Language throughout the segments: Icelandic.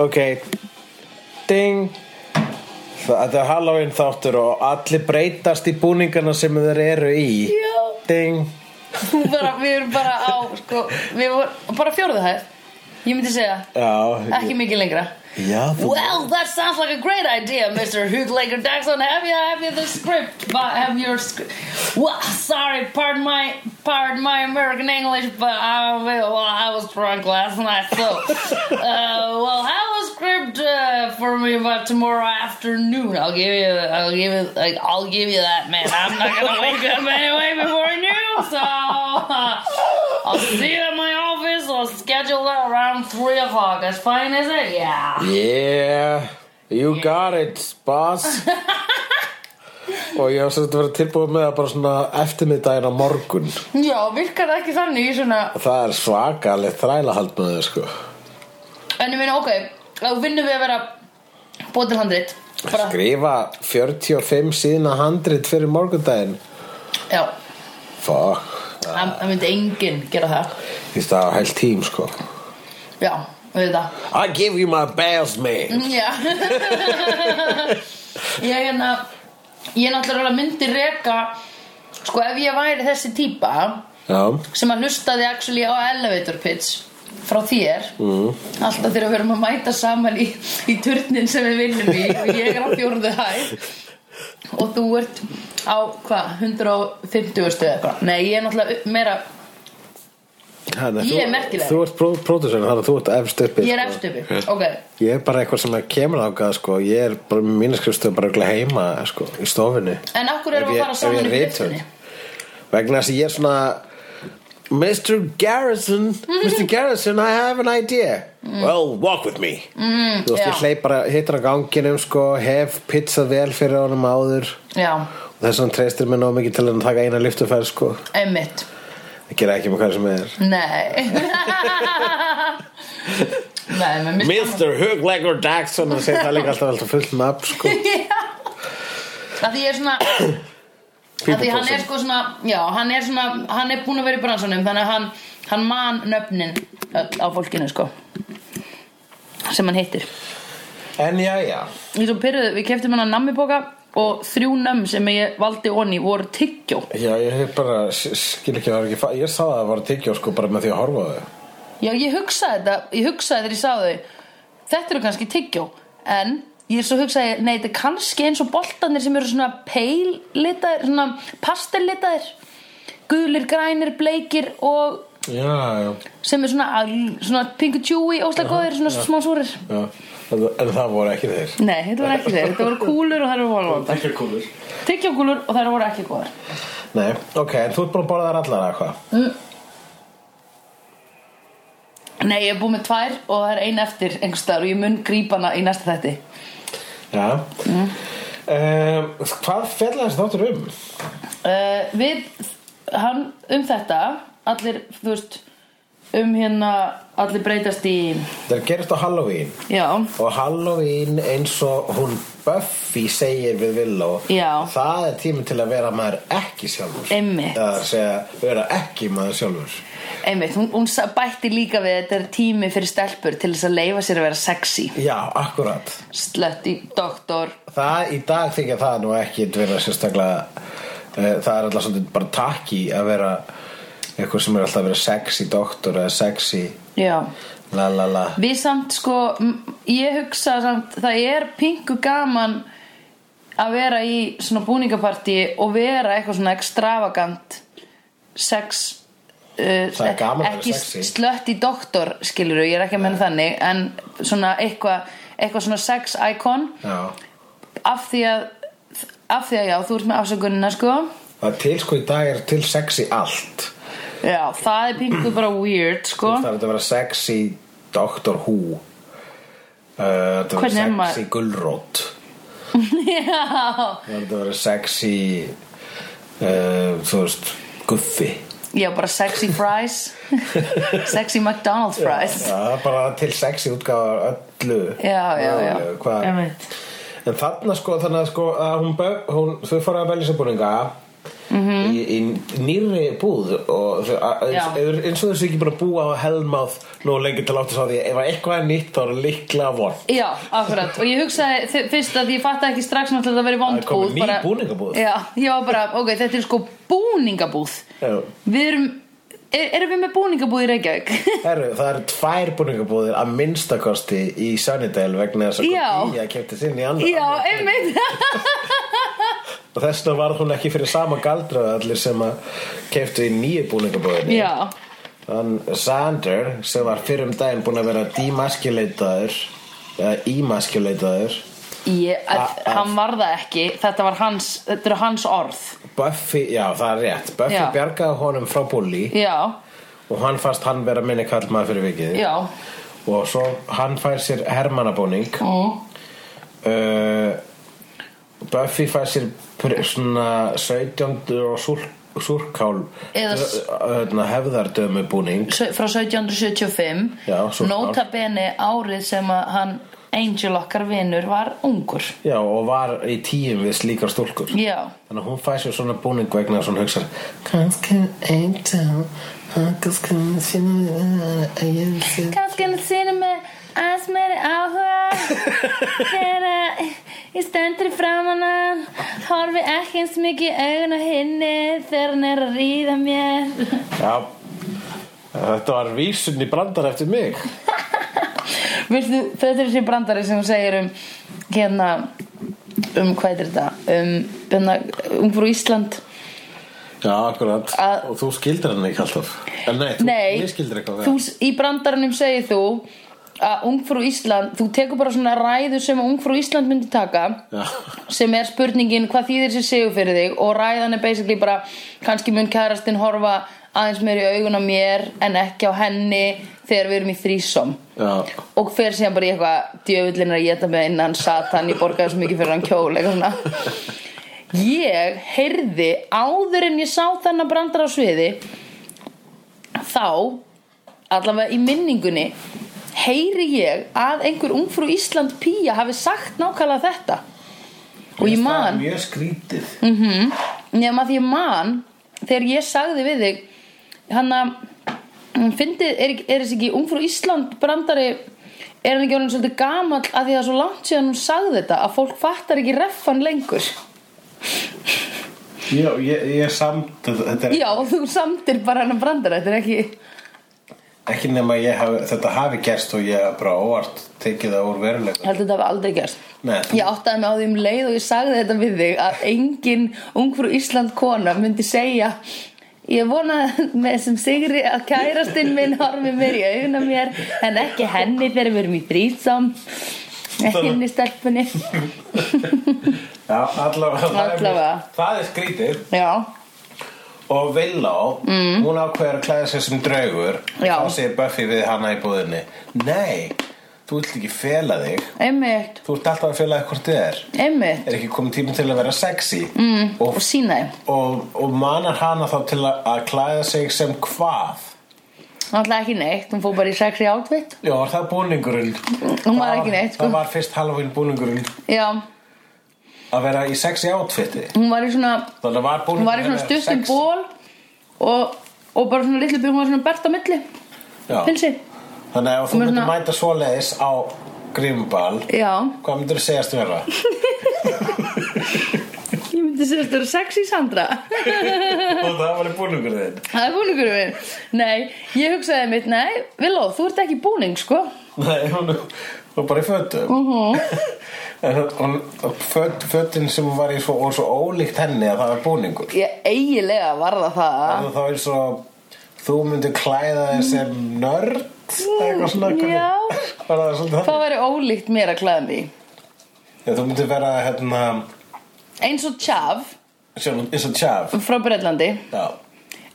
Ok Ding Það það er Halloween þáttur og allir breytast í búningana sem þeir eru í Já. Ding Hún bara, við erum bara á sko, við vorum bara fjórðu hæð ég myndi segja, Já, ekki mikið lengra Já, þú Well, that sounds like a great idea, Mr. Hootlaker Daxon. Have you have you the script? But have your script? Well, sorry, pardon my pardon my American English, but I well, I was drunk last night, so uh, well, have a script uh, for me about tomorrow afternoon. I'll give you, I'll give you, like, I'll give you that, man. I'm not gonna wake up anyway before noon, so uh, I'll see you at my office. I'll schedule that around three o'clock. That's fine, is it? Yeah. Yeah, you got it, boss Og ég var sérst að vera tilbúið með það bara svona eftirmiðdægin á morgun Já, virkar það ekki þannig í svona Það er svakaleg þrælahald með þau sko En ég meina, ok, þá vinnum við að vera búið til handrit bara, Skrifa 45 síðna handrit fyrir morgundaginn Já, Fuck, það það myndi enginn gera það því það var heilt tím sko Já, við það I give you my best man Já Ég hérna Ég náttúrulega myndi reka Sko, ef ég væri þessi típa Já, sem að hlustaði actually á elevator pitch frá þér mm. alltaf þegar við erum að mæta saman í, í turnin sem við vinnum í og ég er á fjórðu hæð og þú ert á hvað, 150 stuð eitthvað nei, ég er náttúrulega meira hann Ég er merkileg. Þú ert pró pródusörn, þannig að þú ert efst uppi ég er efst sko. uppi, ok Ég er bara eitthvað sem kemur ákað sko. Ég er bara mínaskrifstu bara örugglega heima sko, í stofinni en af hverju erum Ef við að ég- fara ef saman upp ég í rithönd. lyftunni Vegna þess að ég er svona Mr. Garrison Mr. Garrison, I have an idea Well, walk with me mm, Þú veist, Mm. já. ég hleyp bara hittar á ganginum sko, hef pizzað vel fyrir honum áður já, og þess að hann treystir mér nóg mikið til að taka eina lyftuferð sko. einmitt Það gera ekki með hvað sem er nei nei, með mitt Mr. Hugleggur Daxson og segir það líka alltaf, alltaf fullt nafn sko. að því ég er svona að því hann er People sko svona já, hann er svona, hann er búin að vera í bransanum þannig að hann, hann man nöfnin öll á fólkinu sko sem hann hittir En já, já við, pyrruð, við keftum hann að nammiboka og þrjú nömm sem ég valdi onni voru tyggjó Já, ég hef bara, s- skil ekki, það var ekki fa- Ég sá að það var að tyggjó sko, bara með því að horfa á þau já, ég hugsaði þetta, ég hugsaði þegar ég sá þau þetta eru kannski tyggjó en ég svo hugsaði, nei, þetta er kannski eins og boltarnir sem eru svona peil litaðir, svona pastellitaðir gulir, grænir, bleikir og Já, já, sem er svona, svona pingu tjúi óslega góðir, svona smá súrir já En, en það voru ekki þeir Nei, þetta var ekki þeir, þetta voru kúlur og þær voru vonlóta Ekki kúlur Tyggjókúlur og þær voru ekki góðar Nei, ok, en þú ert búin að borða þær allar eða hvað? Nei, ég er búið með tvær og það er ein eftir einhvers staðar og ég mun grípa hana í næsta þætti Já mm. Hvað fjallar þessi þáttur um? uh, Við, hann, um þetta allir, þú veist um hérna, allir breytast í Það gerist á Halloween já, Og Halloween eins og hún Buffy segir við Willow Já. Það er tími til að vera maður ekki sjálfur Einmitt. Það er að segja, vera ekki maður sjálfur einmitt hún, hún sa- bætti líka við þetta er tími fyrir stelpur til þess að leifa sér að vera sexy Já, akkurat slött í doktor Það í dag þykja það nú ekki vera sérstaklega uh, það er alltaf svolítið bara takki að vera eitthvað sem er alltaf að vera sexy doktor eða sexy já, la la la Við samt sko, m- ég hugsa samt, það er pingu gaman að vera í svona búningapartí og vera eitthvað svona extravagant sex uh, Það er gaman að vera ekki sexy. slött í doktor skilur ég er ekki að menna þannig en svona eitthvað eitthvað svona sex icon Já. af því að af því að já, þú ert með afsökunina sko Það er til sko í dag er til sexy allt já, það er pingu bara weird sko Það er þetta að vera sexy doktor hú uh, Það er Hvernig er sexy maður- maður? gulrót já, Það er þetta að vera sexy uh, þú veist guffi já, bara sexy fries sexy McDonald's fries Það er bara til sexy útgáfa öllu já, já, já Mögulegu, Hvað Einmitt. En þarna sko, þannig að sko að hún, bö- hún þau fóru að velja sér búninga í í nýri búð og þau- a- Mhm. Já. eins eins og þessu ekki bara búa á helmáð nú lengi til átt að sá því ef að eitthvað er nýtt þá er líklega von Já, akkurat Og ég hugsaði þi- fyrst að ég fatta ekki strax náttúrulega að það veri Það er komin vondbúð ný búningabúð. Já, ég var bara, ok, þetta er sko búningabúð Já. Við erum, er, erum við með búningabúð í Reykjavík? Herru, það eru tvær búningabúðir að minnstakosti í Sunnydale vegna þess að Já. ég kefti sinni í annar Já, einmitt og þess vegna varð hún ekki fyrir sama galdrað allir sem að keftu í nýju búningabúðinni Já, Þann Sander sem var fyrir um daginn búin að vera demaskuleitaður eða emaskuleitaður ég, A- a- hann var það ekki Þetta var hans, þetta eru hans orð Buffy, já það er rétt Buffy Já. bjargaði honum frá bully Já, og hann fannst hann vera minni kallmaður fyrir vikið já og svo hann fær sér hermannabúning mm. uh, Buffy fær sér pr- svona 17 og súr, súrkál Eða s- hefðardömu hefðardömubúning Sau- Frá 1775 Já, svo- Nota bene árið sem að hann Angel okkar vinur var ungur já, og var í tíum við slíkar stúlkur Já, Þannig að hún fæ sér svona búning vegna þess að hún hugsar Kannski eitthvað Kannski eitthvað kannski hann sinni með aðeins meiri áhuga þegar að ég stendur í framan hann horfi ekki eins mikið í augun á hinni þegar hann er að ríða mér Já, þetta var vísun í brandar eftir mig Viltu, þetta er þessi brandari sem hún segir um hérna um hvað er þetta um, hérna, um frú Ísland Já, akkurat Að- Og þú skildir hann ekki alltaf En nei, þú Nei, miskildir eitthvað þú, í brandaranum segir þú að ungfrú Ísland, þú tekur bara svona ræðu sem ungfrú Ísland myndi taka Já. sem er spurningin hvað þýðir sér segjum fyrir þig og ræðan er basically bara kannski mun kærastinn horfa aðeins meir í augun á mér en ekki á henni þegar við erum í þrísom Já, og fer síðan bara í eitthvað djöfullin er að geta með innan satan ég borgaði svo mikið fyrir hann kjól eitthvað svona ég heyrði áður en ég sá þennan brandar á sviði þá allavega í minningunni heyri ég að einhver ungfrú Ísland pía hafi sagt nákvæmlega þetta og ég Það er man mjög skrítið nefnum að ég man þegar ég sagði við þig hann að hún fyndi, er, ekki- er þessi ekki ungfrú Ísland brandari er hann ekki orðin svolítið gamall að því það er svo langt síðan hún sagði þetta að fólk fattar ekki reffan lengur Já, ég, ég samt Þetta er já, þú samtir bara hann brandara þetta er ekki, ekki nema ég haf, þetta hafi gerst og ég hef bara óvart tekið það úr veruleika heldur þetta hafi aldrei gerst Nei, þú- ég áttaði mig á því um leið og ég sagði þetta við þig að engin ungfrú Ísland kona myndi segja ég vona með sem sigri að kærastinn minn horfi mér í augun á mér en ekki henni þegar við erum í þrýsam ekki henni stelpunni Já, allavega það er- Allavega. Það er skrítið já, Og Villó, mm. hún ákveður að klæða sér sem draugur Já. Þá segir Buffy við hana í búðinni Nei, þú vilt ekki fela þig einmitt Þú ert alltaf að fela þig hvort þið er einmitt Er ekki komið tími til að vera sexy mm. og, og sína þeim og, og manar hana þá til að, að klæða sig sem hvað náttúrulega ekki neitt, hún fór bara í sexy outfit Já, var það búningurinn Hún var ekki neitt, sko. Það var fyrst Halloween búningurinn já, Að vera í sexy outfiti hún var í svona Þannig að var hún búningurinn var í svona hennar stuttum sexy. ból og, og bara svona litlu byrjum hún var svona bert á milli Já. pilsi, Þannig að ef þú Hún er myndir svona- mæta svoleiðis á grimbal já Hvað myndir þú segjast vera? Ég myndi segja að þetta eru sexy Sandra og það var í búningur þinn Það er búningur minn Nei, ég hugsaði mitt, nei, Villó, þú ert ekki í búning, sko Nei, hún var bara í fötum En hún, föt, fötin sem hún var í svo, og svo ólíkt henni að það var búningur Ég eiginlega varða það Og þá er svo Þú myndir klæða þig sem nörd eða Eitthvað svona hvernig- Mm, Já. Var það svolítið Hvað þannig? væri ólíkt mér að klæða mig í? Já, Þú myndir vera hérna Eins og tjaf Sjón, eins og tjaf frá Breitlandi Já,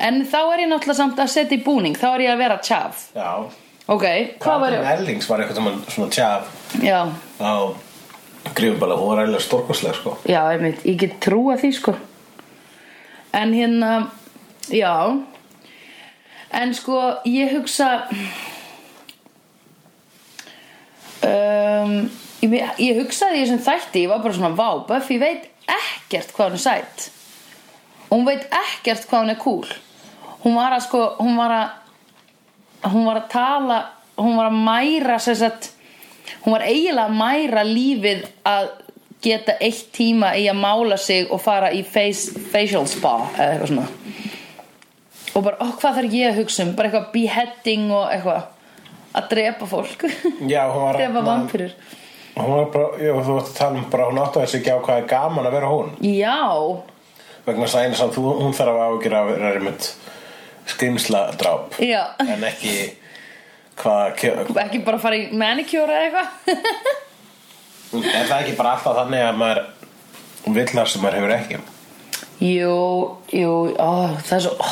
En þá er ég náttúrulega samt að setja í búning Þá er ég að vera tjaf já Ok, hvað Katrín væri Erlings var eitthvað sem hann svona tjaf Já, á grífubala Hún var eiginlega stórkoslega sko já, einmitt, ég get trúa því, sko En hérna, já En sko, ég hugsa um, ég, ég hugsaði í þessum þætti ég var bara svona vá, Buffy veit ekkert hvað hún er sætt og hún veit ekkert hvað hún er cool hún var að sko hún var að hún var að tala hún var að mæra sem sagt, hún var eiginlega að mæra lífið að geta eitt tíma í að mála sig og fara í face, facial spa eða eitthvað svona og bara, ó, hvað þarf ég að hugsa um bara eitthvað beheading og eitthvað að drepa fólk Já, hún var- drepa vampirur Hún var bara, já, þú vart að tala um bara, hún áttaði sig ekki á hvað er gaman að vera hún já, vegna þess að einu samt, þú- hún þarf að ágjur að vera einmitt skrimsla dráp já en ekki hvað kjö- ekki bara fara í manicure eða eitthvað er það ekki bara alltaf þannig að maður vill það sem maður hefur ekki Jú, jú, ó, það er svo, ó,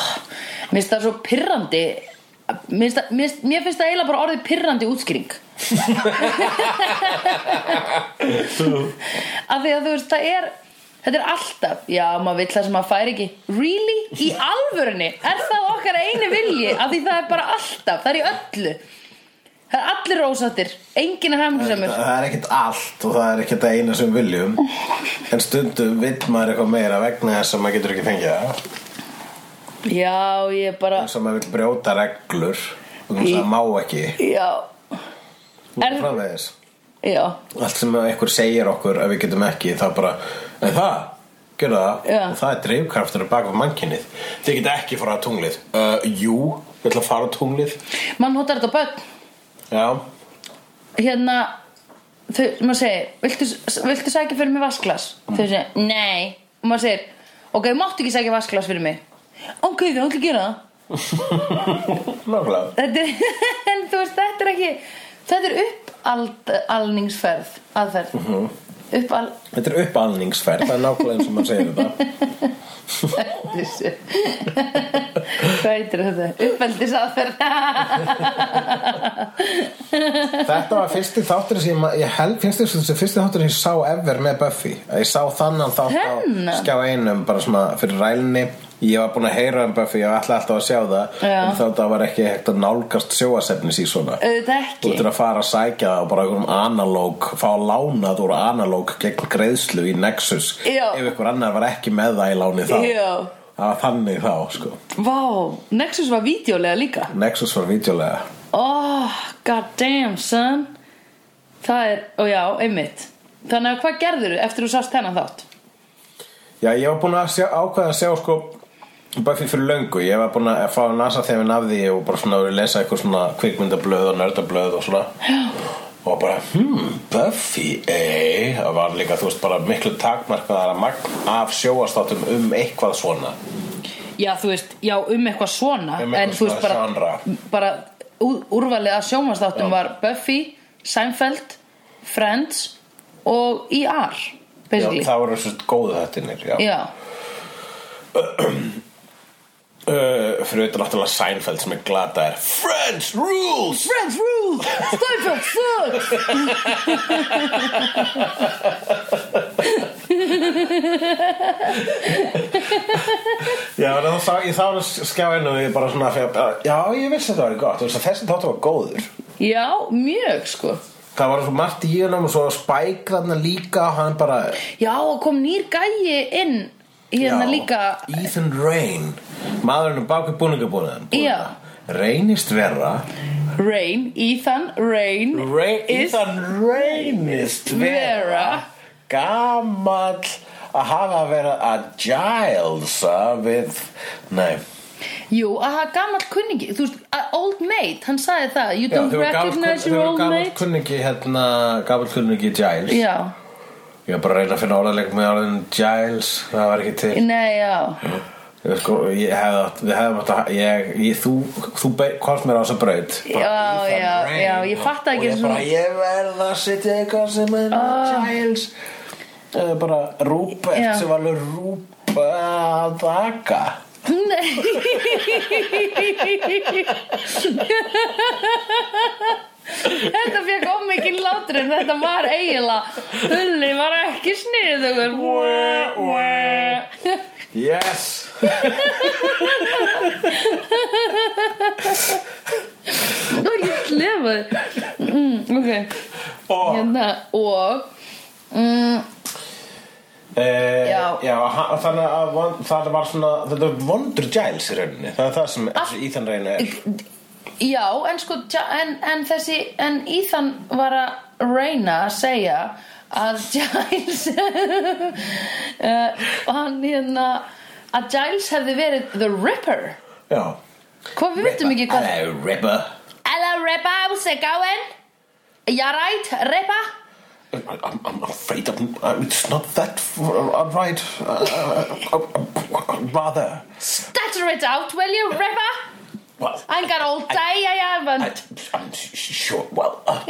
mér finnst það svo pyrrandi, mér finnst það, mér finnst- mér finnst það eiginlega bara orðið pyrrandi útskýring. Af því að þú veist, það er, þetta er alltaf, já, maður vill það sem maður fær ekki, really? Í alvörunni, er það okkar eini vilji, af því það er bara alltaf, það er í öllu. Það er allir rósattir, enginn er hæmursamur. það er ekkert allt og það er ekkert það eina sem við viljum en stundum vill maður eitthvað meira vegna þess að maður getur ekki fengið það Já, ég er bara, þess að maður vill brjóta reglur og þess að má ekki já, og Er- framvegis já. allt sem einhver segir okkur að við getum ekki það bara, en það, gjörðu það Já. og það er dreifkraftur að baka mannkinnið þið geta ekki fara á tunglið uh, jú, við ætla að fara á tunglið Mann hóttar þetta á börn já, hérna þau, maður segir, viltu, viltu sækja fyrir mig vasklas? Mm. Þau segir, nei og maður segir, ok, máttu ekki sækja vasklas fyrir mig ok, þau ætla að gera það nákvæmlega þetta er, en þú veist, þetta er ekki þetta er uppalningsferð aðferð mm Mhm. -hmm. uppal Þetta er uppalningsferð, það er nákvæmlega eins og maður segir þetta hvað heitir þetta? uppeldis aðferð Þetta var fyrsti þáttur sem ég, ma- ég held, finnst þess þessi fyrsti þáttur sem ég sá ever með Buffy að ég sá þannan þátt á Þennan? skjá einum bara svona fyrir rælni ég var búin að heyra um Buffy, ég ætla alltaf að sjá það Já. en þá það var ekki hægt að nálgast sjóasefnis í svona auðvitað Þú ekki ert að fara að sækja það og bara einhverjum analóg fá lánað úr analóg gegn greiðslu í Nexus Já. ef einhver annar var ekki með það í láni þá Já. það var þannig þá sko. vá, Nexus var vídeolega líka Nexus var vídeolega Oh, god damn son Það er, og já, einmitt Þannig að hvað gerðirðu eftir þú sást hennan þátt? Já, ég var búin að sjá, ákveða að sjá sko Buffy fyrir löngu, ég var búin að fá nasa þegar við nafði og bara svona að lesa eitthvað svona kvikmyndablöð og nördablöð og svona og bara, hmm, Buffy ei, það var líka, þú veist, bara miklu takmarkaðara magn af sjóastátum um eitthvað svona Já, þú veist, já, um eitthvað svona Um eitthvað En þú veist svona bara, genre. bara ú- Úrvalið að sjómanstáttum var Buffy, Seinfeld, Friends og ER Já, Basically það voru þessu góðu þettinir, já, já. Uh, fyrir auðvitað náttúrulega Seinfeld sem er glata er Friends Rules Friends rule, Seinfeld sucks Já, en þá sá ég þá að skjá einu og ég bara svona fyrir, já, ég vissi þetta var gott, þú veist að þessi þáttur var góður Já, mjög sko Það var svo margt í hennum og svo Spike þarna líka hann bara Já, og kom nýr gæi inn Hérna Já, líka Ethan Rain Maðurinn um baku búningabúnaðan Já. Reynist vera Rain, Ethan, Rain Rain, Is- Ethan Reynist vera Vera. Gamall að hafa verið að gilesa við Nei Jú, að það er gammal kunningi Þú veist, að old mate, hann sagði það You Já, don't þau voru gamall recognize kun- þau your voru old gamall mate kunningi hérna gamall kunningi Giles Já, Ég var bara að reyna að finna orðaleg með orðin Giles það var ekki til nei, já Ég Sko, ég hefði átt, við hefðum átt að, ég, ég, þú, þú komst mér á þessa braut. Já, já, já, ég fattaði ekki Og ég svona- bara, ég verð að setja eitthvað sem er Ah. Giles. Uh, bara Rúbert Já. sem var alveg Rúbert Aga. Nei Þetta fekk ómikinn látur en þetta var eiginlega Hulli var ekki sniðugur Yes! Þú er ekki slefaði mm, Ok Og, hérna, og mm, Eh, Já. já ha- þannig að von- það var svona þetta var vondur Giles í rauninni það er það sem Ah. Ethan Reyna er Já, en sko tja- en, en þessi, en Ethan var að reyna að segja að Giles uh, hann hérna að Giles hefði verið The Ripper já hvað við veitum ekki hvað Hello Ripper Hello Ripper, how's it going? You right, Ripper? I'm, I'm afraid I'm, it's not that I'm right uh, rather Stutter it out, will you, Ripper? well, I ain't got all day, I haven't I'm sure well uh.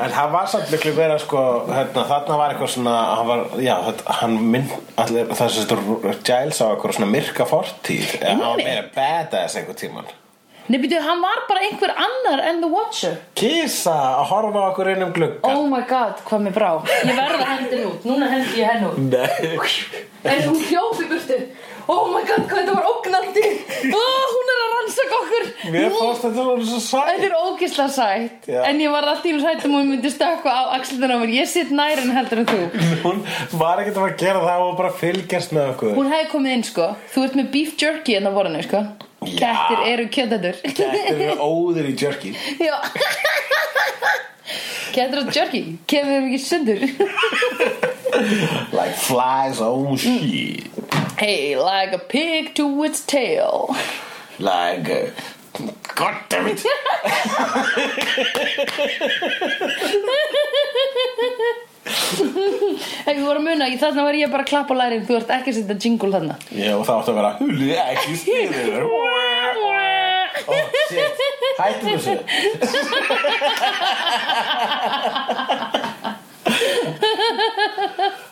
En hann var samt miklu meira sko hérna, þarna var eitthvað svona hann var, já, þetta, hann minn allir, það sem þetta Giles á eitthvað svona myrka fortíð en hann var Einmitt. meira badass einhver tíman Nei, býtu, hann var bara einhver annar en The Watcher Kisa að horfa á okkur inn um glugga Oh my god, hvað mér brá Ég verða að hendi henni út, núna hendi ég henni út Nei En hún hljóf í burtu Oh my god, hvað þetta var ógnandi oh, Hún er að rannsaka okkur Mér fannst þetta svona svo Þetta sæt er ógisla sætt Já. En ég var alltaf í sættum og ég myndi stökkva á axlindar á mér Ég sitt nær en heldur en þú Hún var ekkert að fara að gera það og bara fylgjast með okkur Hún hefði komið inn sko Þú ert með beef jerky en á borðinu sko Já. Kettir eru kjötetur Þetta er óður í jerky Já Kettir og jerky Kemur þeim ekki sundur Like flies on shit Hey, like a pig to its tail Like uh, God damn it Ef ég voru að muna, ég- þarna var ég bara að klappa á lærin Þú ert ekki að setja jingle þarna Já og það átti að vera Hulið ekki stýrið Oh shit Hættum þessu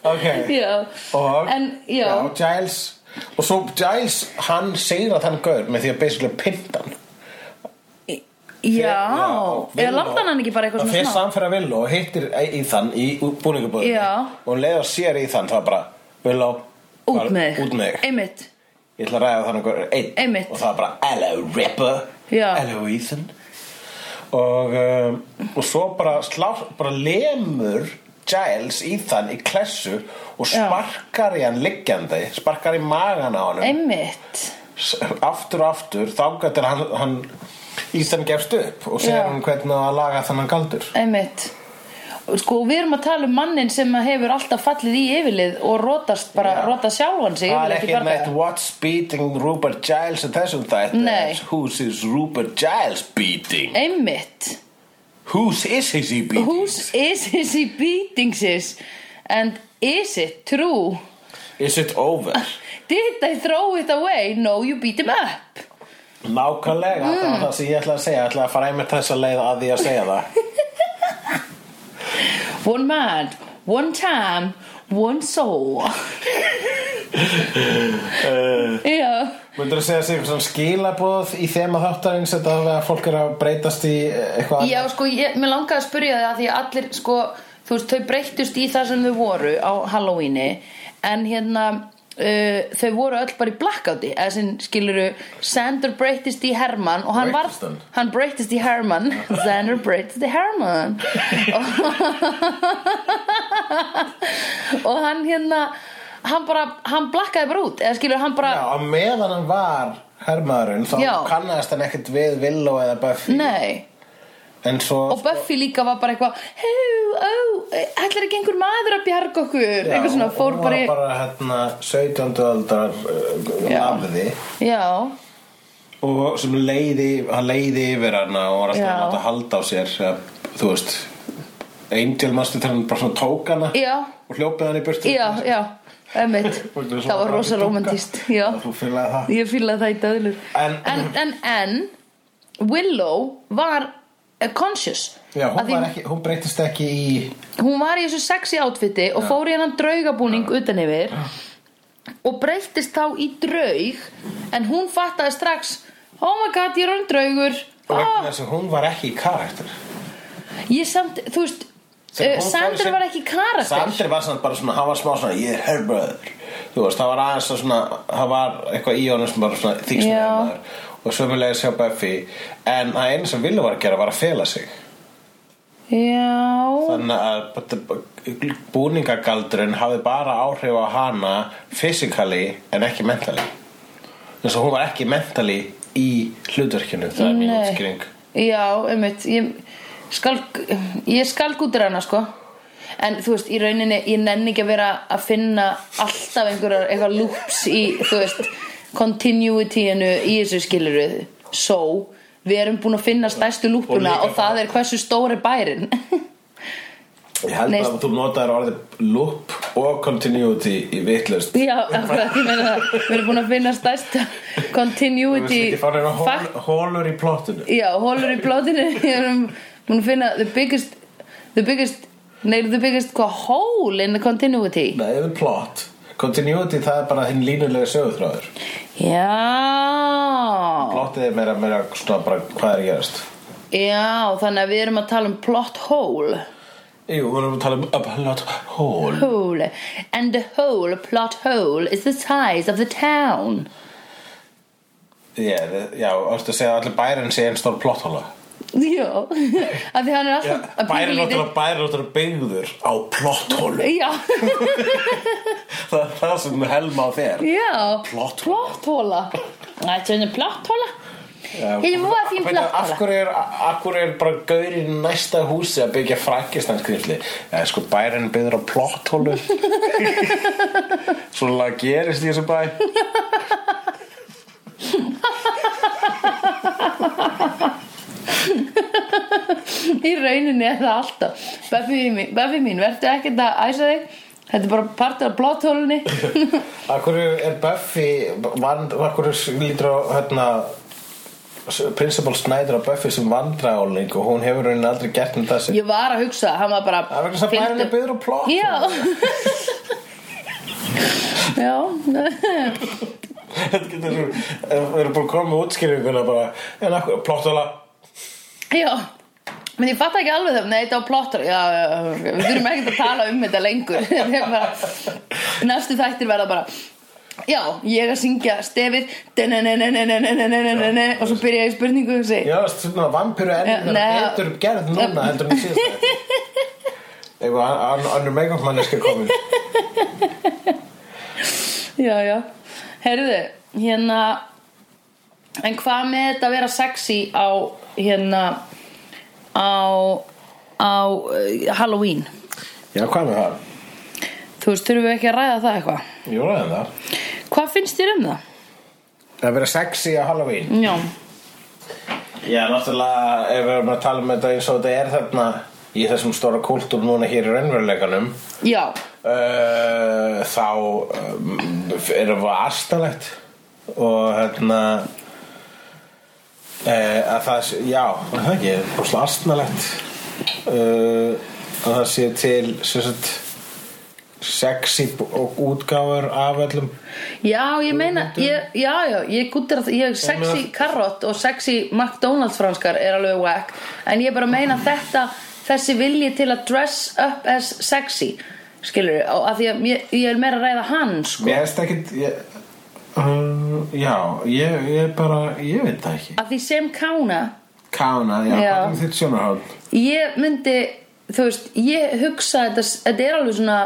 Ok Já, Og En, já. Giles Og svo Giles, hann segir að hann gaur með því að basically pynta hann já Eða landa hann ekki bara eitthvað svona svona Fyrst smá hann fyrir að Villó og hittir í þann í búningabóðinni Já. Og hann leiður sér í þann, það er bara Villó, Út með þig út með þig Einmitt Ég ætla að ræða þannig einhver einn Einmitt. Og það er bara Hello Ripper Já. Hello Ethan Og, um, og svo bara, slá, bara lemur Giles Ethan í klessu og Já. sparkar í hann liggjandi sparkar í magan á hann Einmitt aftur og aftur þangað til hann, hann Ethan gefst upp og segir Já. hann hvernig á að laga þannan galdur Einmitt Og Sko, við erum að tala um mannin sem að hefur alltaf fallið í yfirlið og rótast bara, Já. rótast sjálfan sig Það er yfirlið ekki bjarga. neitt what's beating Rupert Giles í þessum þætti Nei. It's Who's is Rupert Giles beating Einmitt Who's is his he beating Whose is his he beating sis and is it true? Is it over? Did I throw it away? No, you beat him up Nákvæmlega, það var það sem ég ætla að segja Ég ætla að fara einmitt þess að leiða að því að segja það One man, one time, one soul Já, Möndur að segja sig um svona skilabóð í þema þáttarins Þetta er að fólk er að breytast í eh, eitthvað já sko, ég, mér langaði að spyrja það því að allir, sko, þú veist, þau breyttust í það sem þau voru á Halloweeni en hérna uh, þau voru öll bara í blackouti eða sem skiluru, Sander breyttist í Herman og hann Breyttist hann? var hann breyttist í Herman Sander breyttist í Herman og, og hann hérna hann bara, hann blakkaði bara út eða skilur, hann bara Já, á meðan hann var hermaðurinn Þá Já. kannast hann ekkert við Villó eða Buffy Nei, En svo og Buffy líka var bara eitthvað Hei, ó, ætlar ekki einhver maður að bjarga okkur Já, Eitthvað svona, fór hún var bara í bara hérna 17. aldar uh, Já. lafði Já, og sem leiði, hann leiði yfir hana og var alltaf Já. að láta halda á sér ja, þú veist Angel manstu þegar hann bara svona tók hana já, og hljópið hann í burtu já, já Ömmit, Og þú veist, það var bara rosa dunka. romantist Já, þú fylgði það ég fílaði það í döðlur En- en, en, en Willow var eh, conscious Já, Af hún, því var ekki, hún breytist ekki í hún var í þessu sexy outfiti og fór í hennan draugabúning utan yfir og breyttist þá í draug en hún fattaði strax oh my god, ég er hann draugur og vegna oh, þess að hún var ekki í karakter ég samt, þú veist Sem uh, hún fór í Sander sinn- var ekki karakter Sander var samt bara svona, hann var smá svona ég er herbröður þú veist, það var aðeins að svona það var eitthvað í honum sem bara svona þykst Já. með og sömulegis hjá Buffy en það einu sem Willu var að gera var að fela sig Já Þannig að b- búningagaldurinn hafði bara áhrif á hana physically en ekki mentally. Þess að hún var ekki mentally í hlutverkinu, það er mín Nei. útskýring. Já, einmitt Ég skal, ég skal gútur hana sko En þú veist, í rauninni Ég nenni ekki að vera að finna Alltaf einhverjar, eitthvað loops í Þú veist, continuityinu Í þessu skiluru So, við erum búin að finna stærstu lúpuna líka Og, það bara- er hversu stór er bærin Ég held Nei, að þú notaðir orðið loop og continuity í vittlust. Já, akkurat, ég meina það Við erum búin að finna stærsta Þú veist continuity ekki fann hérna fact- hol, holur í plottinu. Já, hólur í plótinu Ég er um- mun að finna the biggest the biggest, nei, the biggest hvað, hole in the continuity Nei, eða plot. Continuity það er bara hinn línulega sögutráður. Já Plottið er meira, meira svona bara hvað er að gerast. Já, þannig að við erum að tala um plot hole Jú, við erum að tala um a plot hole. Hole And the hole, plot hole is the size of the town Yeah, the- já, orðið að segja að allir bærin sé einn stór plotthóla. Já, af því hann er alltaf að Bærin pínulítið- náttúrulega bærin náttúrulega byggður á plotthólu. Já Það er það sem helma á þér. Já, Plotthóla. plotthóla Þetta er plotthóla Þetta er múið að þín Hvernig- Af plotthóla hverju er, af hverju er bara gaurinn næsta húsi að byggja frankistanskrisli? Eða sko bærin byggður á plotthólu. Svona gerist í þessu bæ. Í rauninni er það alltaf Buffy mín, Buffy mín verður ekkert að æsa þig Þetta er bara partur af plotthólunni Af hverju er Buffy vand, Af hverju lítur á hérna Principal Snyder á Buffy sem vandræðáling og hún hefur henni aldrei gert um þessi Ég var að hugsa, hann var bara Það er vegna þess að bærinn er byggður á plott Já Já Þetta getur svo Við erum búin að koma með útskýringuna bara En af hverju, plottóla Já Men ég fatt ekki alveg það, nei þetta var plottur Já, já, já, við þurfum ekkert að tala um þetta lengur Þetta er bara, Næstu þættir verða bara Já, ég að syngja stefið denenenenenenenenenene, Og svo byrja ég í spurningu og segi Já, svona vampíru Já, ennir nei. er betur gerð núna heldur en síðast Eitthvað, annur meganmanneska komin Já, já, heyrðu Hérna En hvað með þetta að vera sexy á Hérna Á, á uh, Halloween Já, hvað með það? Þú veist, þurfum við ekki að ræða það eitthvað Jú, ræðum það Hvað finnst þér um það? Það verið sexy á Halloween Já Já, náttúrulega ef við erum að tala um þetta eins og þetta er þarna í þessum stóra kultúr núna hér í raunveruleikanum Já, uh, þá um, erum við astanlegt og hérna uh, að það sé- já, er það ekki, búslega astanlegt uh, að það sé til sem sagt sexy b- og útgáfur af öllum já, ég meina ég, Já, já, ég gúttir að ég, sexy meina- karrott og sexy McDonalds franskar er alveg whack En ég bara meina þetta, þessi vilji til að dress up as sexy Skilur, og að því að ég, ég er meira að ræða hann sko. Mér erst ekkit ég, uh, Já, ég, ég bara ég veit það ekki Að því sem kána Kána, já, Já. hvað er þitt sjónarhóð? Ég myndi, þú veist, ég hugsa þetta, þetta er alveg svona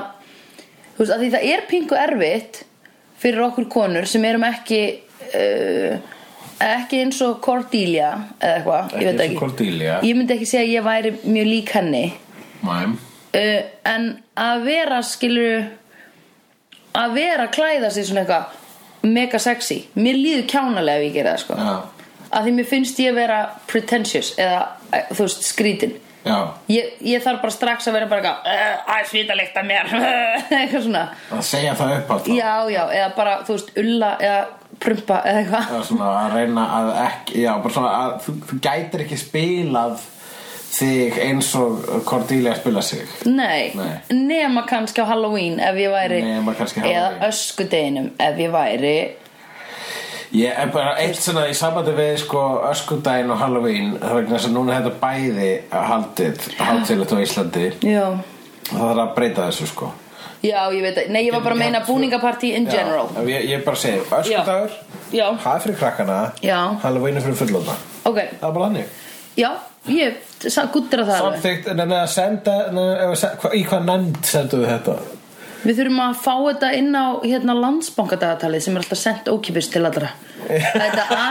Þú veist, að því það er pingu erfitt Fyrir okkur konur sem erum ekki uh, Ekki eins og Cordelia Eða eitthvað, ég veit eins og ekki Cordelia. Ég myndi ekki segja að ég væri mjög lík henni Mæm uh, En að vera, skilur Að vera að klæða sig svona eitthvað Mega sexy Mér líður kjánalega ef ég gera það, sko Já, Að því mér finnst ég vera pretentious Eða, eh, þú veist, skrítin já Ég, ég þarf bara strax að vera bara eitthvað "Eh, Æ, svítalegt að mér Eitthvað svona Að segja það upp alltaf Já, já, eða bara, þú veist, ulla eða prumpa eða eitthvað Það er svona að reyna að ekki Já, bara svona að þú, þú gætir ekki spilað þig eins og Cordelia spila sig Nei, Nei. nema kannski á Halloween ef ég væri Nema kannski á Eða Halloween. öskudeginum ef ég væri Ég er bara eitt svona í sambandi við sko öskudaginn og Halloween það er vegna þess að núna er þetta bæði haldið hátilegt á Íslandi Já, það þarf að breyta þessu sko já, ég veit að Nei, ég var bara að meina búningapartí in general Já, ég, ég bara segi öskudagur Já. Það er fyrir krakkana Já. Halloween er fyrir fullona Ok, Það er bara hannig já, ég guttir að það alveg. Samþykkt, en að senda, nei, ef að se- hva- í hvað nefnd senduðu þetta? Við þurfum að fá þetta inn á hérna, landsbankadagatalið sem er alltaf sendt ókipis til allra. Þetta, a,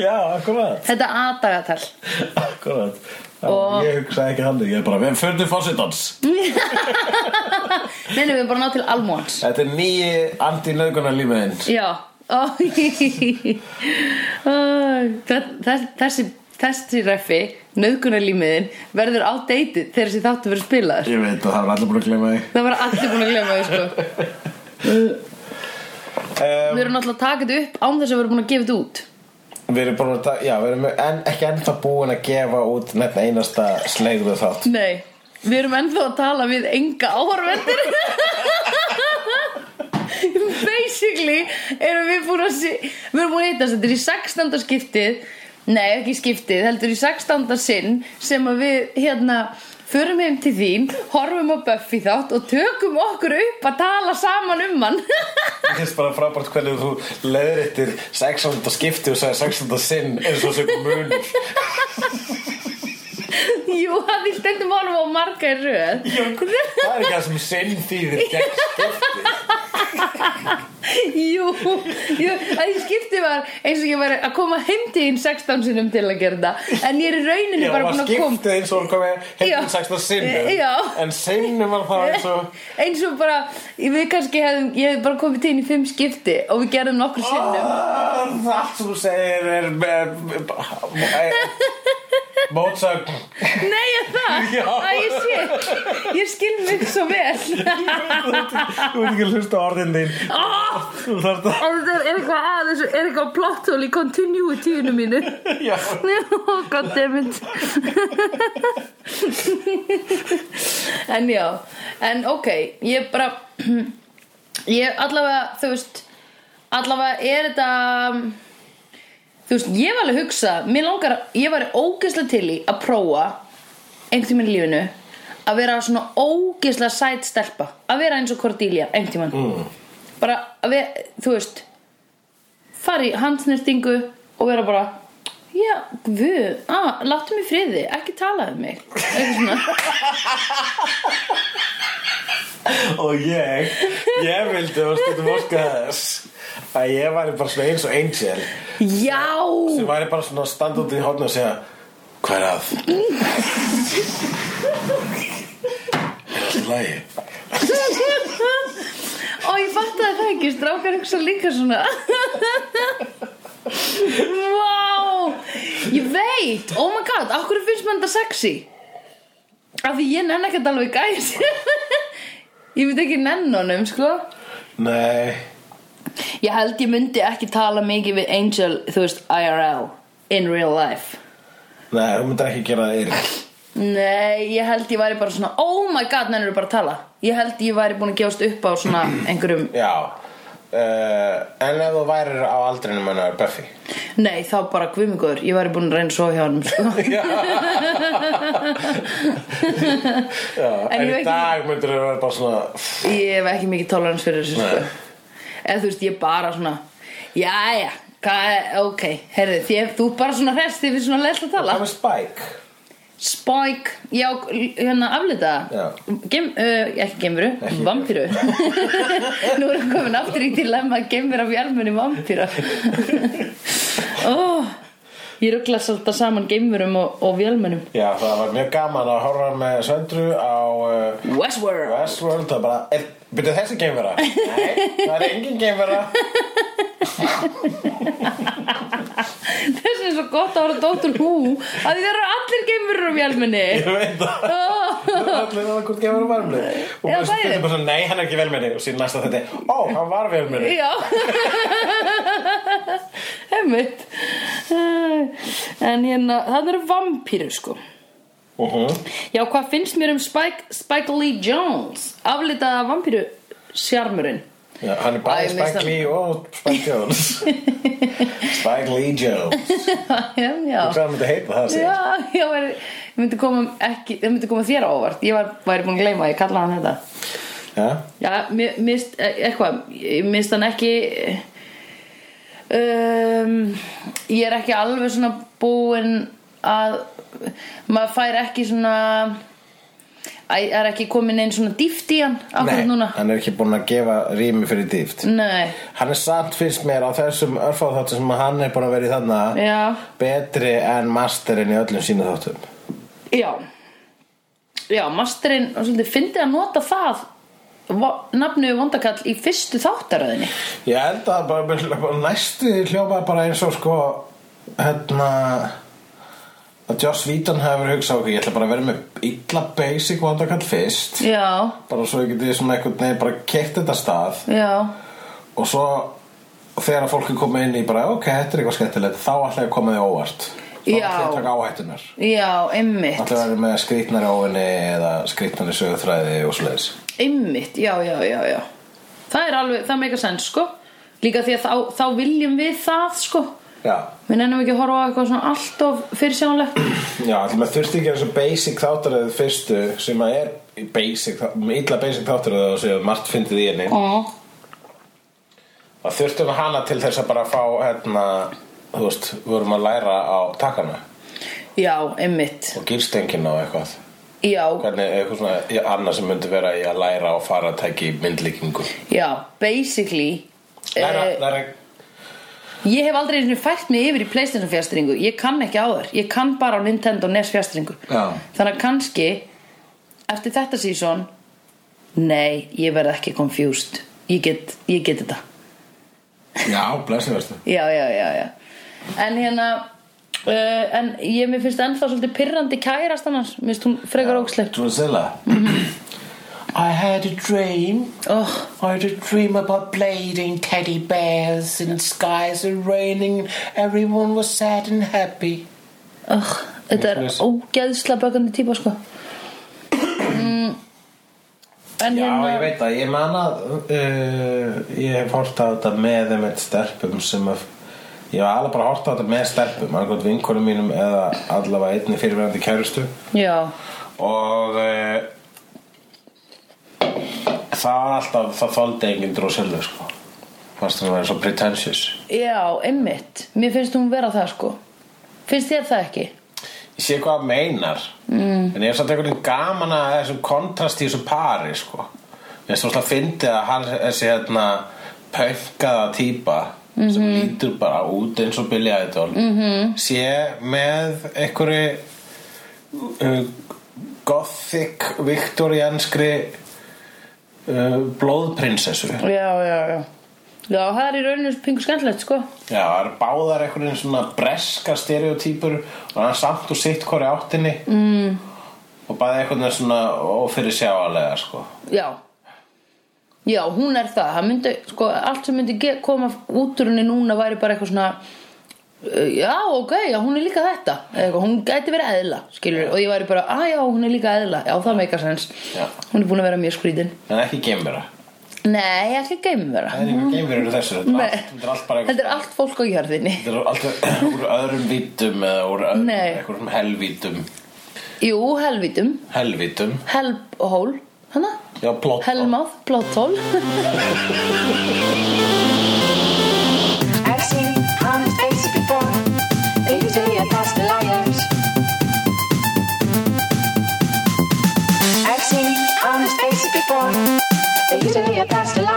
Já, akkurat, þetta A-dagatal. akkurat. Já, Og- Ég hugsaði ekki hann, ég er bara, við fundum fórsetans. Nei, nei, við erum bara að ná til almóans. Þetta er nýji anti-nöðgunar lífiðinn. Já. Ó, það, það, þessi, þessi reffi, nöðgunarlímiðin, verður outdated þegar þessi þáttu verður spilaður. Ég veit að það er allir búin að glemma því. Það var allir búin að glemma þau, sko. Við Um, erum náttúrulega að taka þetta upp án þess að við erum búin að gefa þetta út. við erum búin að, ta- já, við erum en, ekki ennþá búin að gefa út nefn einasta slegðu þátt. Nei, við erum ennþá að tala við enga áhörvendir Basically erum við búin að se- við erum búin að hittast þetta er í 16. skiptið nei ekki í skiptið, heldur í 16. sinn sem að við hérna förum heim til þín, horfum á Buffy þátt og tökum okkur upp að tala saman um hann Ég finnst bara frábært hvernig þú leður eftir 600 skipti og sagði 600 sinn eins og sem mun. Jú, að því stendum honum á marga í röð Það er ekki það sem sinn þýðir gegn skipti. Jú, jú, að ég skipti var eins og ég var að koma heim til þín 16 sinnum til að gera þetta En ég er í rauninni Já, bara var búin að koma skiptið eins og hún komið Já. hefðið 16 sinnum. Já. En sinnum var það eins og... Eins og bara, ég- við kannski hefðum, ég hefði bara komið til þín í fimm skipti Og við gerðum nokkur sinnum Ah, Það sem þú segir er... eh, er- Mótsögn. Nei, ég það, Já. að ég sé, ég skil mig svo vel Þú veit ekki að hlusta á orðin þín. oh, Þú þarft að... Er er eitthvað að þessu, er eitthvað plotthól í continuity-inu mínu Já. Oh, goddammit En já En ok, ég bara Ég allavega, þú veist Allavega er þetta um, Þú veist, ég var alveg að hugsa Mér langar, ég var ógeðslega til í Að prófa Einhvern tímann í lífinu Að vera svona ógeðslega sæt stelpa Að vera eins og Cordelia, einhvern tímann mm. Bara, að vera, þú veist fara í handsnirtingu og vera bara já, guð, ah, láttu mig í friði ekki tala um mig eitthvað svona Og ég, ég vildi að stundum óska þess að ég væri bara svona eins og angel já, sem væri bara svona að standa út í hóðn og segja hvað er að? Er allt í lagi? og ég fattaði það ekki strákar hugsa líka svona wow ég veit, oh my god af hverju finnst mér þetta sexy af því ég nenn ekkert alveg gæs ég veit ekki nenn honum sko Nei, ég held ég myndi ekki tala mikið við Angel, þú veist, IRL in real life nei, þú myndir ekki gera það yfir Nei, ég held ég væri bara svona Oh my god, nennir bara að tala Ég held ég væri búin að gefast upp á svona einhverjum Já, uh, en ef þú værir á aldrinum hennar Buffy Nei, þá bara guðmingur Ég væri búin að reyna svo hjá hann sko. Já, Já. En en, ég í veit dag myndir þú vera bara svona Ég hef ekki mikið tolerans fyrir þessu sko. Nei. Eða þú veist, ég bara svona Jæja, hvað er, ok Herði, því ef þú bara svona resti Við svona lest að tala Það er Spike Spike, já, hérna aflita Já. Gem, uh, Ekki gemuru, vampíru Nú erum komin aftur í dilemma Gemur af hjálmunni vampíra Ó Ég ruggla svolítið saman geimurum og, og vélmennum Já, það var mjög gaman að horfa með Söndru á uh, Westworld Westworld Það bara, er, byrja þessi geimvera? Nei, það er engin geimvera Þess er svo gott að horfa Dóttur Hú að því það eru allir geimurur á vélmenni Ég veit það oh. Það er allir að hvort geimvera var með Já, Og bara bæði. stundum bara svona, nei, hann er ekki vel með Og síðan næsta þetta, ó, hann var vel með Já Hemmitt En hérna, það eru vampíru sko uh -huh. Já, hvað finnst mér um Spike, Spike Lee Jones? Aflitaða vampíru sjarmurinn. Já, hann er Æ, bæði mér Spike finnst Lee og Spike Jones Spike Lee Jones já, já. Hvað myndi heita það sér? Já, já, ég myndi koma, ekki, ég myndi koma þér á óvart. Ég var, væri búin að gleyma, að ég kalla hann þetta. Já, Já, mér mist, eh, eitthvað, ég mist hann ekki... ehm, Um, ég er ekki alveg svona búin að maður fær ekki svona Æ, það er ekki komin einn svona dýft í hann akkurat núna Mm. hann er ekki búin að gefa rými fyrir dýft Nei, Hann er satt fyrst mér á þessum örfáþáttum sem hann er búin að vera í þarna já, betri en masterinn í öllum sína þáttum já Já, masterinn og svolítið fyndi að nota það vo- nafnu vondakall í fyrstu þáttaröðinni Ég held að bara, bara næstu því hljóma bara eins og sko hérna að Joss Whedon hefur hugsað okkur ég ætla bara að vera með illa basic vandakall fyrst Já, bara svo ég geti svona einhvern veginn bara keitt þetta stað já, og svo þegar fólk er komið inn í bara ok, þetta er eitthvað skemmtilegt þá ætla ég að koma því óvart þá Já. ætla ég að taka áhættunar já, einmitt Alltaf verður með skrýtnari óvinni eða skrýtnari sögurþræði og svoleiðis. Einmitt, já, já, já, já Það er alveg, það meika sens, sko Líka því að þá, þá viljum við það, sko Já. Við nennum ekki að horfa á eitthvað svona allt of fyrirsjónlegt Já, allir maður þurfti ekki að þessu basic þáttaröðu fyrstu sem að er basic, illa basic þáttaröðu og sem margt fyndið í henni. oh. Það þurftum við hana til þess að bara fá, hérna, þú veist, við vorum að læra á takkana Já, einmitt og gýrstengina og eitthvað. Já, Hvernig, eitthvað svona ja, annað sem myndi vera í að læra á faratæki myndlíkingu. já, basically Læra, eh, læra, Ég hef aldrei einu sinni fært mig yfir í Playstation fjastringu Ég kann ekki á þær Ég kann bara á Nintendo NES fjastringu Já. Þannig að kannski Eftir þetta sísón Nei, ég verð ekki confused Ég get, ég get þetta já, blessið verðstu. Já, já, já, já En hérna uh, En ég mér finnst ennþá svolítið pirrandi kærast annars Mér finnst hún frekar ógsleg Drusilla. I had a dream. oh, I had a dream about playing teddy bears and skies are raining and everyone was sad and happy. oh, Þetta er ógeðsla bökandi típa sko mm. En Já, hérna ég veit að ég man að uh, ég hef hort á þetta með þeim eitt stelpum sem að ég hef alveg bara hort á þetta með stelpum annað vinkonum mínum eða allavega einni fyrirverandi kærustu Já, og uh, það var alltaf það þoldi enginn drosillu sko fannst það að vera svo pretentious Já, einmitt. Mér finnst hún vera það sko. Finnst þér það ekki? ég sé hvað það meinar mm. en ég er samt einhvern veginn gaman að þessum kontrast í þessu pari sko. ég er svona fyndið að hann þessi hérna pönkaða típa sem lítur bara út eins og Billy Idol -hmm. sé með einhverju uh, gothic viktorianskri uh, blóðprinsessu Já, já, já. Já, það er í rauninu pingu skemmtilegt sko. Já, það eru báðar einhvern veginn svona breska stereotypur og hann samt og sitt hvori áttinni mm. og bæði einhvern veginn svona ófyrir sjáalega sko. Já. Já, hún er það. það myndi, sko, allt sem myndi ge- koma út úr henni núna væri bara eitthvað svona uh, Já, ok, já, hún er líka þetta Eða eitthvað, Hún gæti verið eðla, skilur Og ég væri bara, að já, hún er líka eðla Já, það meikar sens Já. Hún er búin að vera mjög skrítin en ekki geimvera Nei, ekki geimvera það er einhver geimvera eru þessu þetta er Mhm. Nei. allt- þetta er allt bara Þetta er allt fólk á jörðinni þetta er allt úr öðrum vítum eða úr öðrum, Nei. einhverjum helvítum Jú, helvítum helvítum, Helmhól Hanna? já plott Helmáð, blóttól I've seen honest faces before. They usually are past the liars. I've seen honest faces before. They usually are past the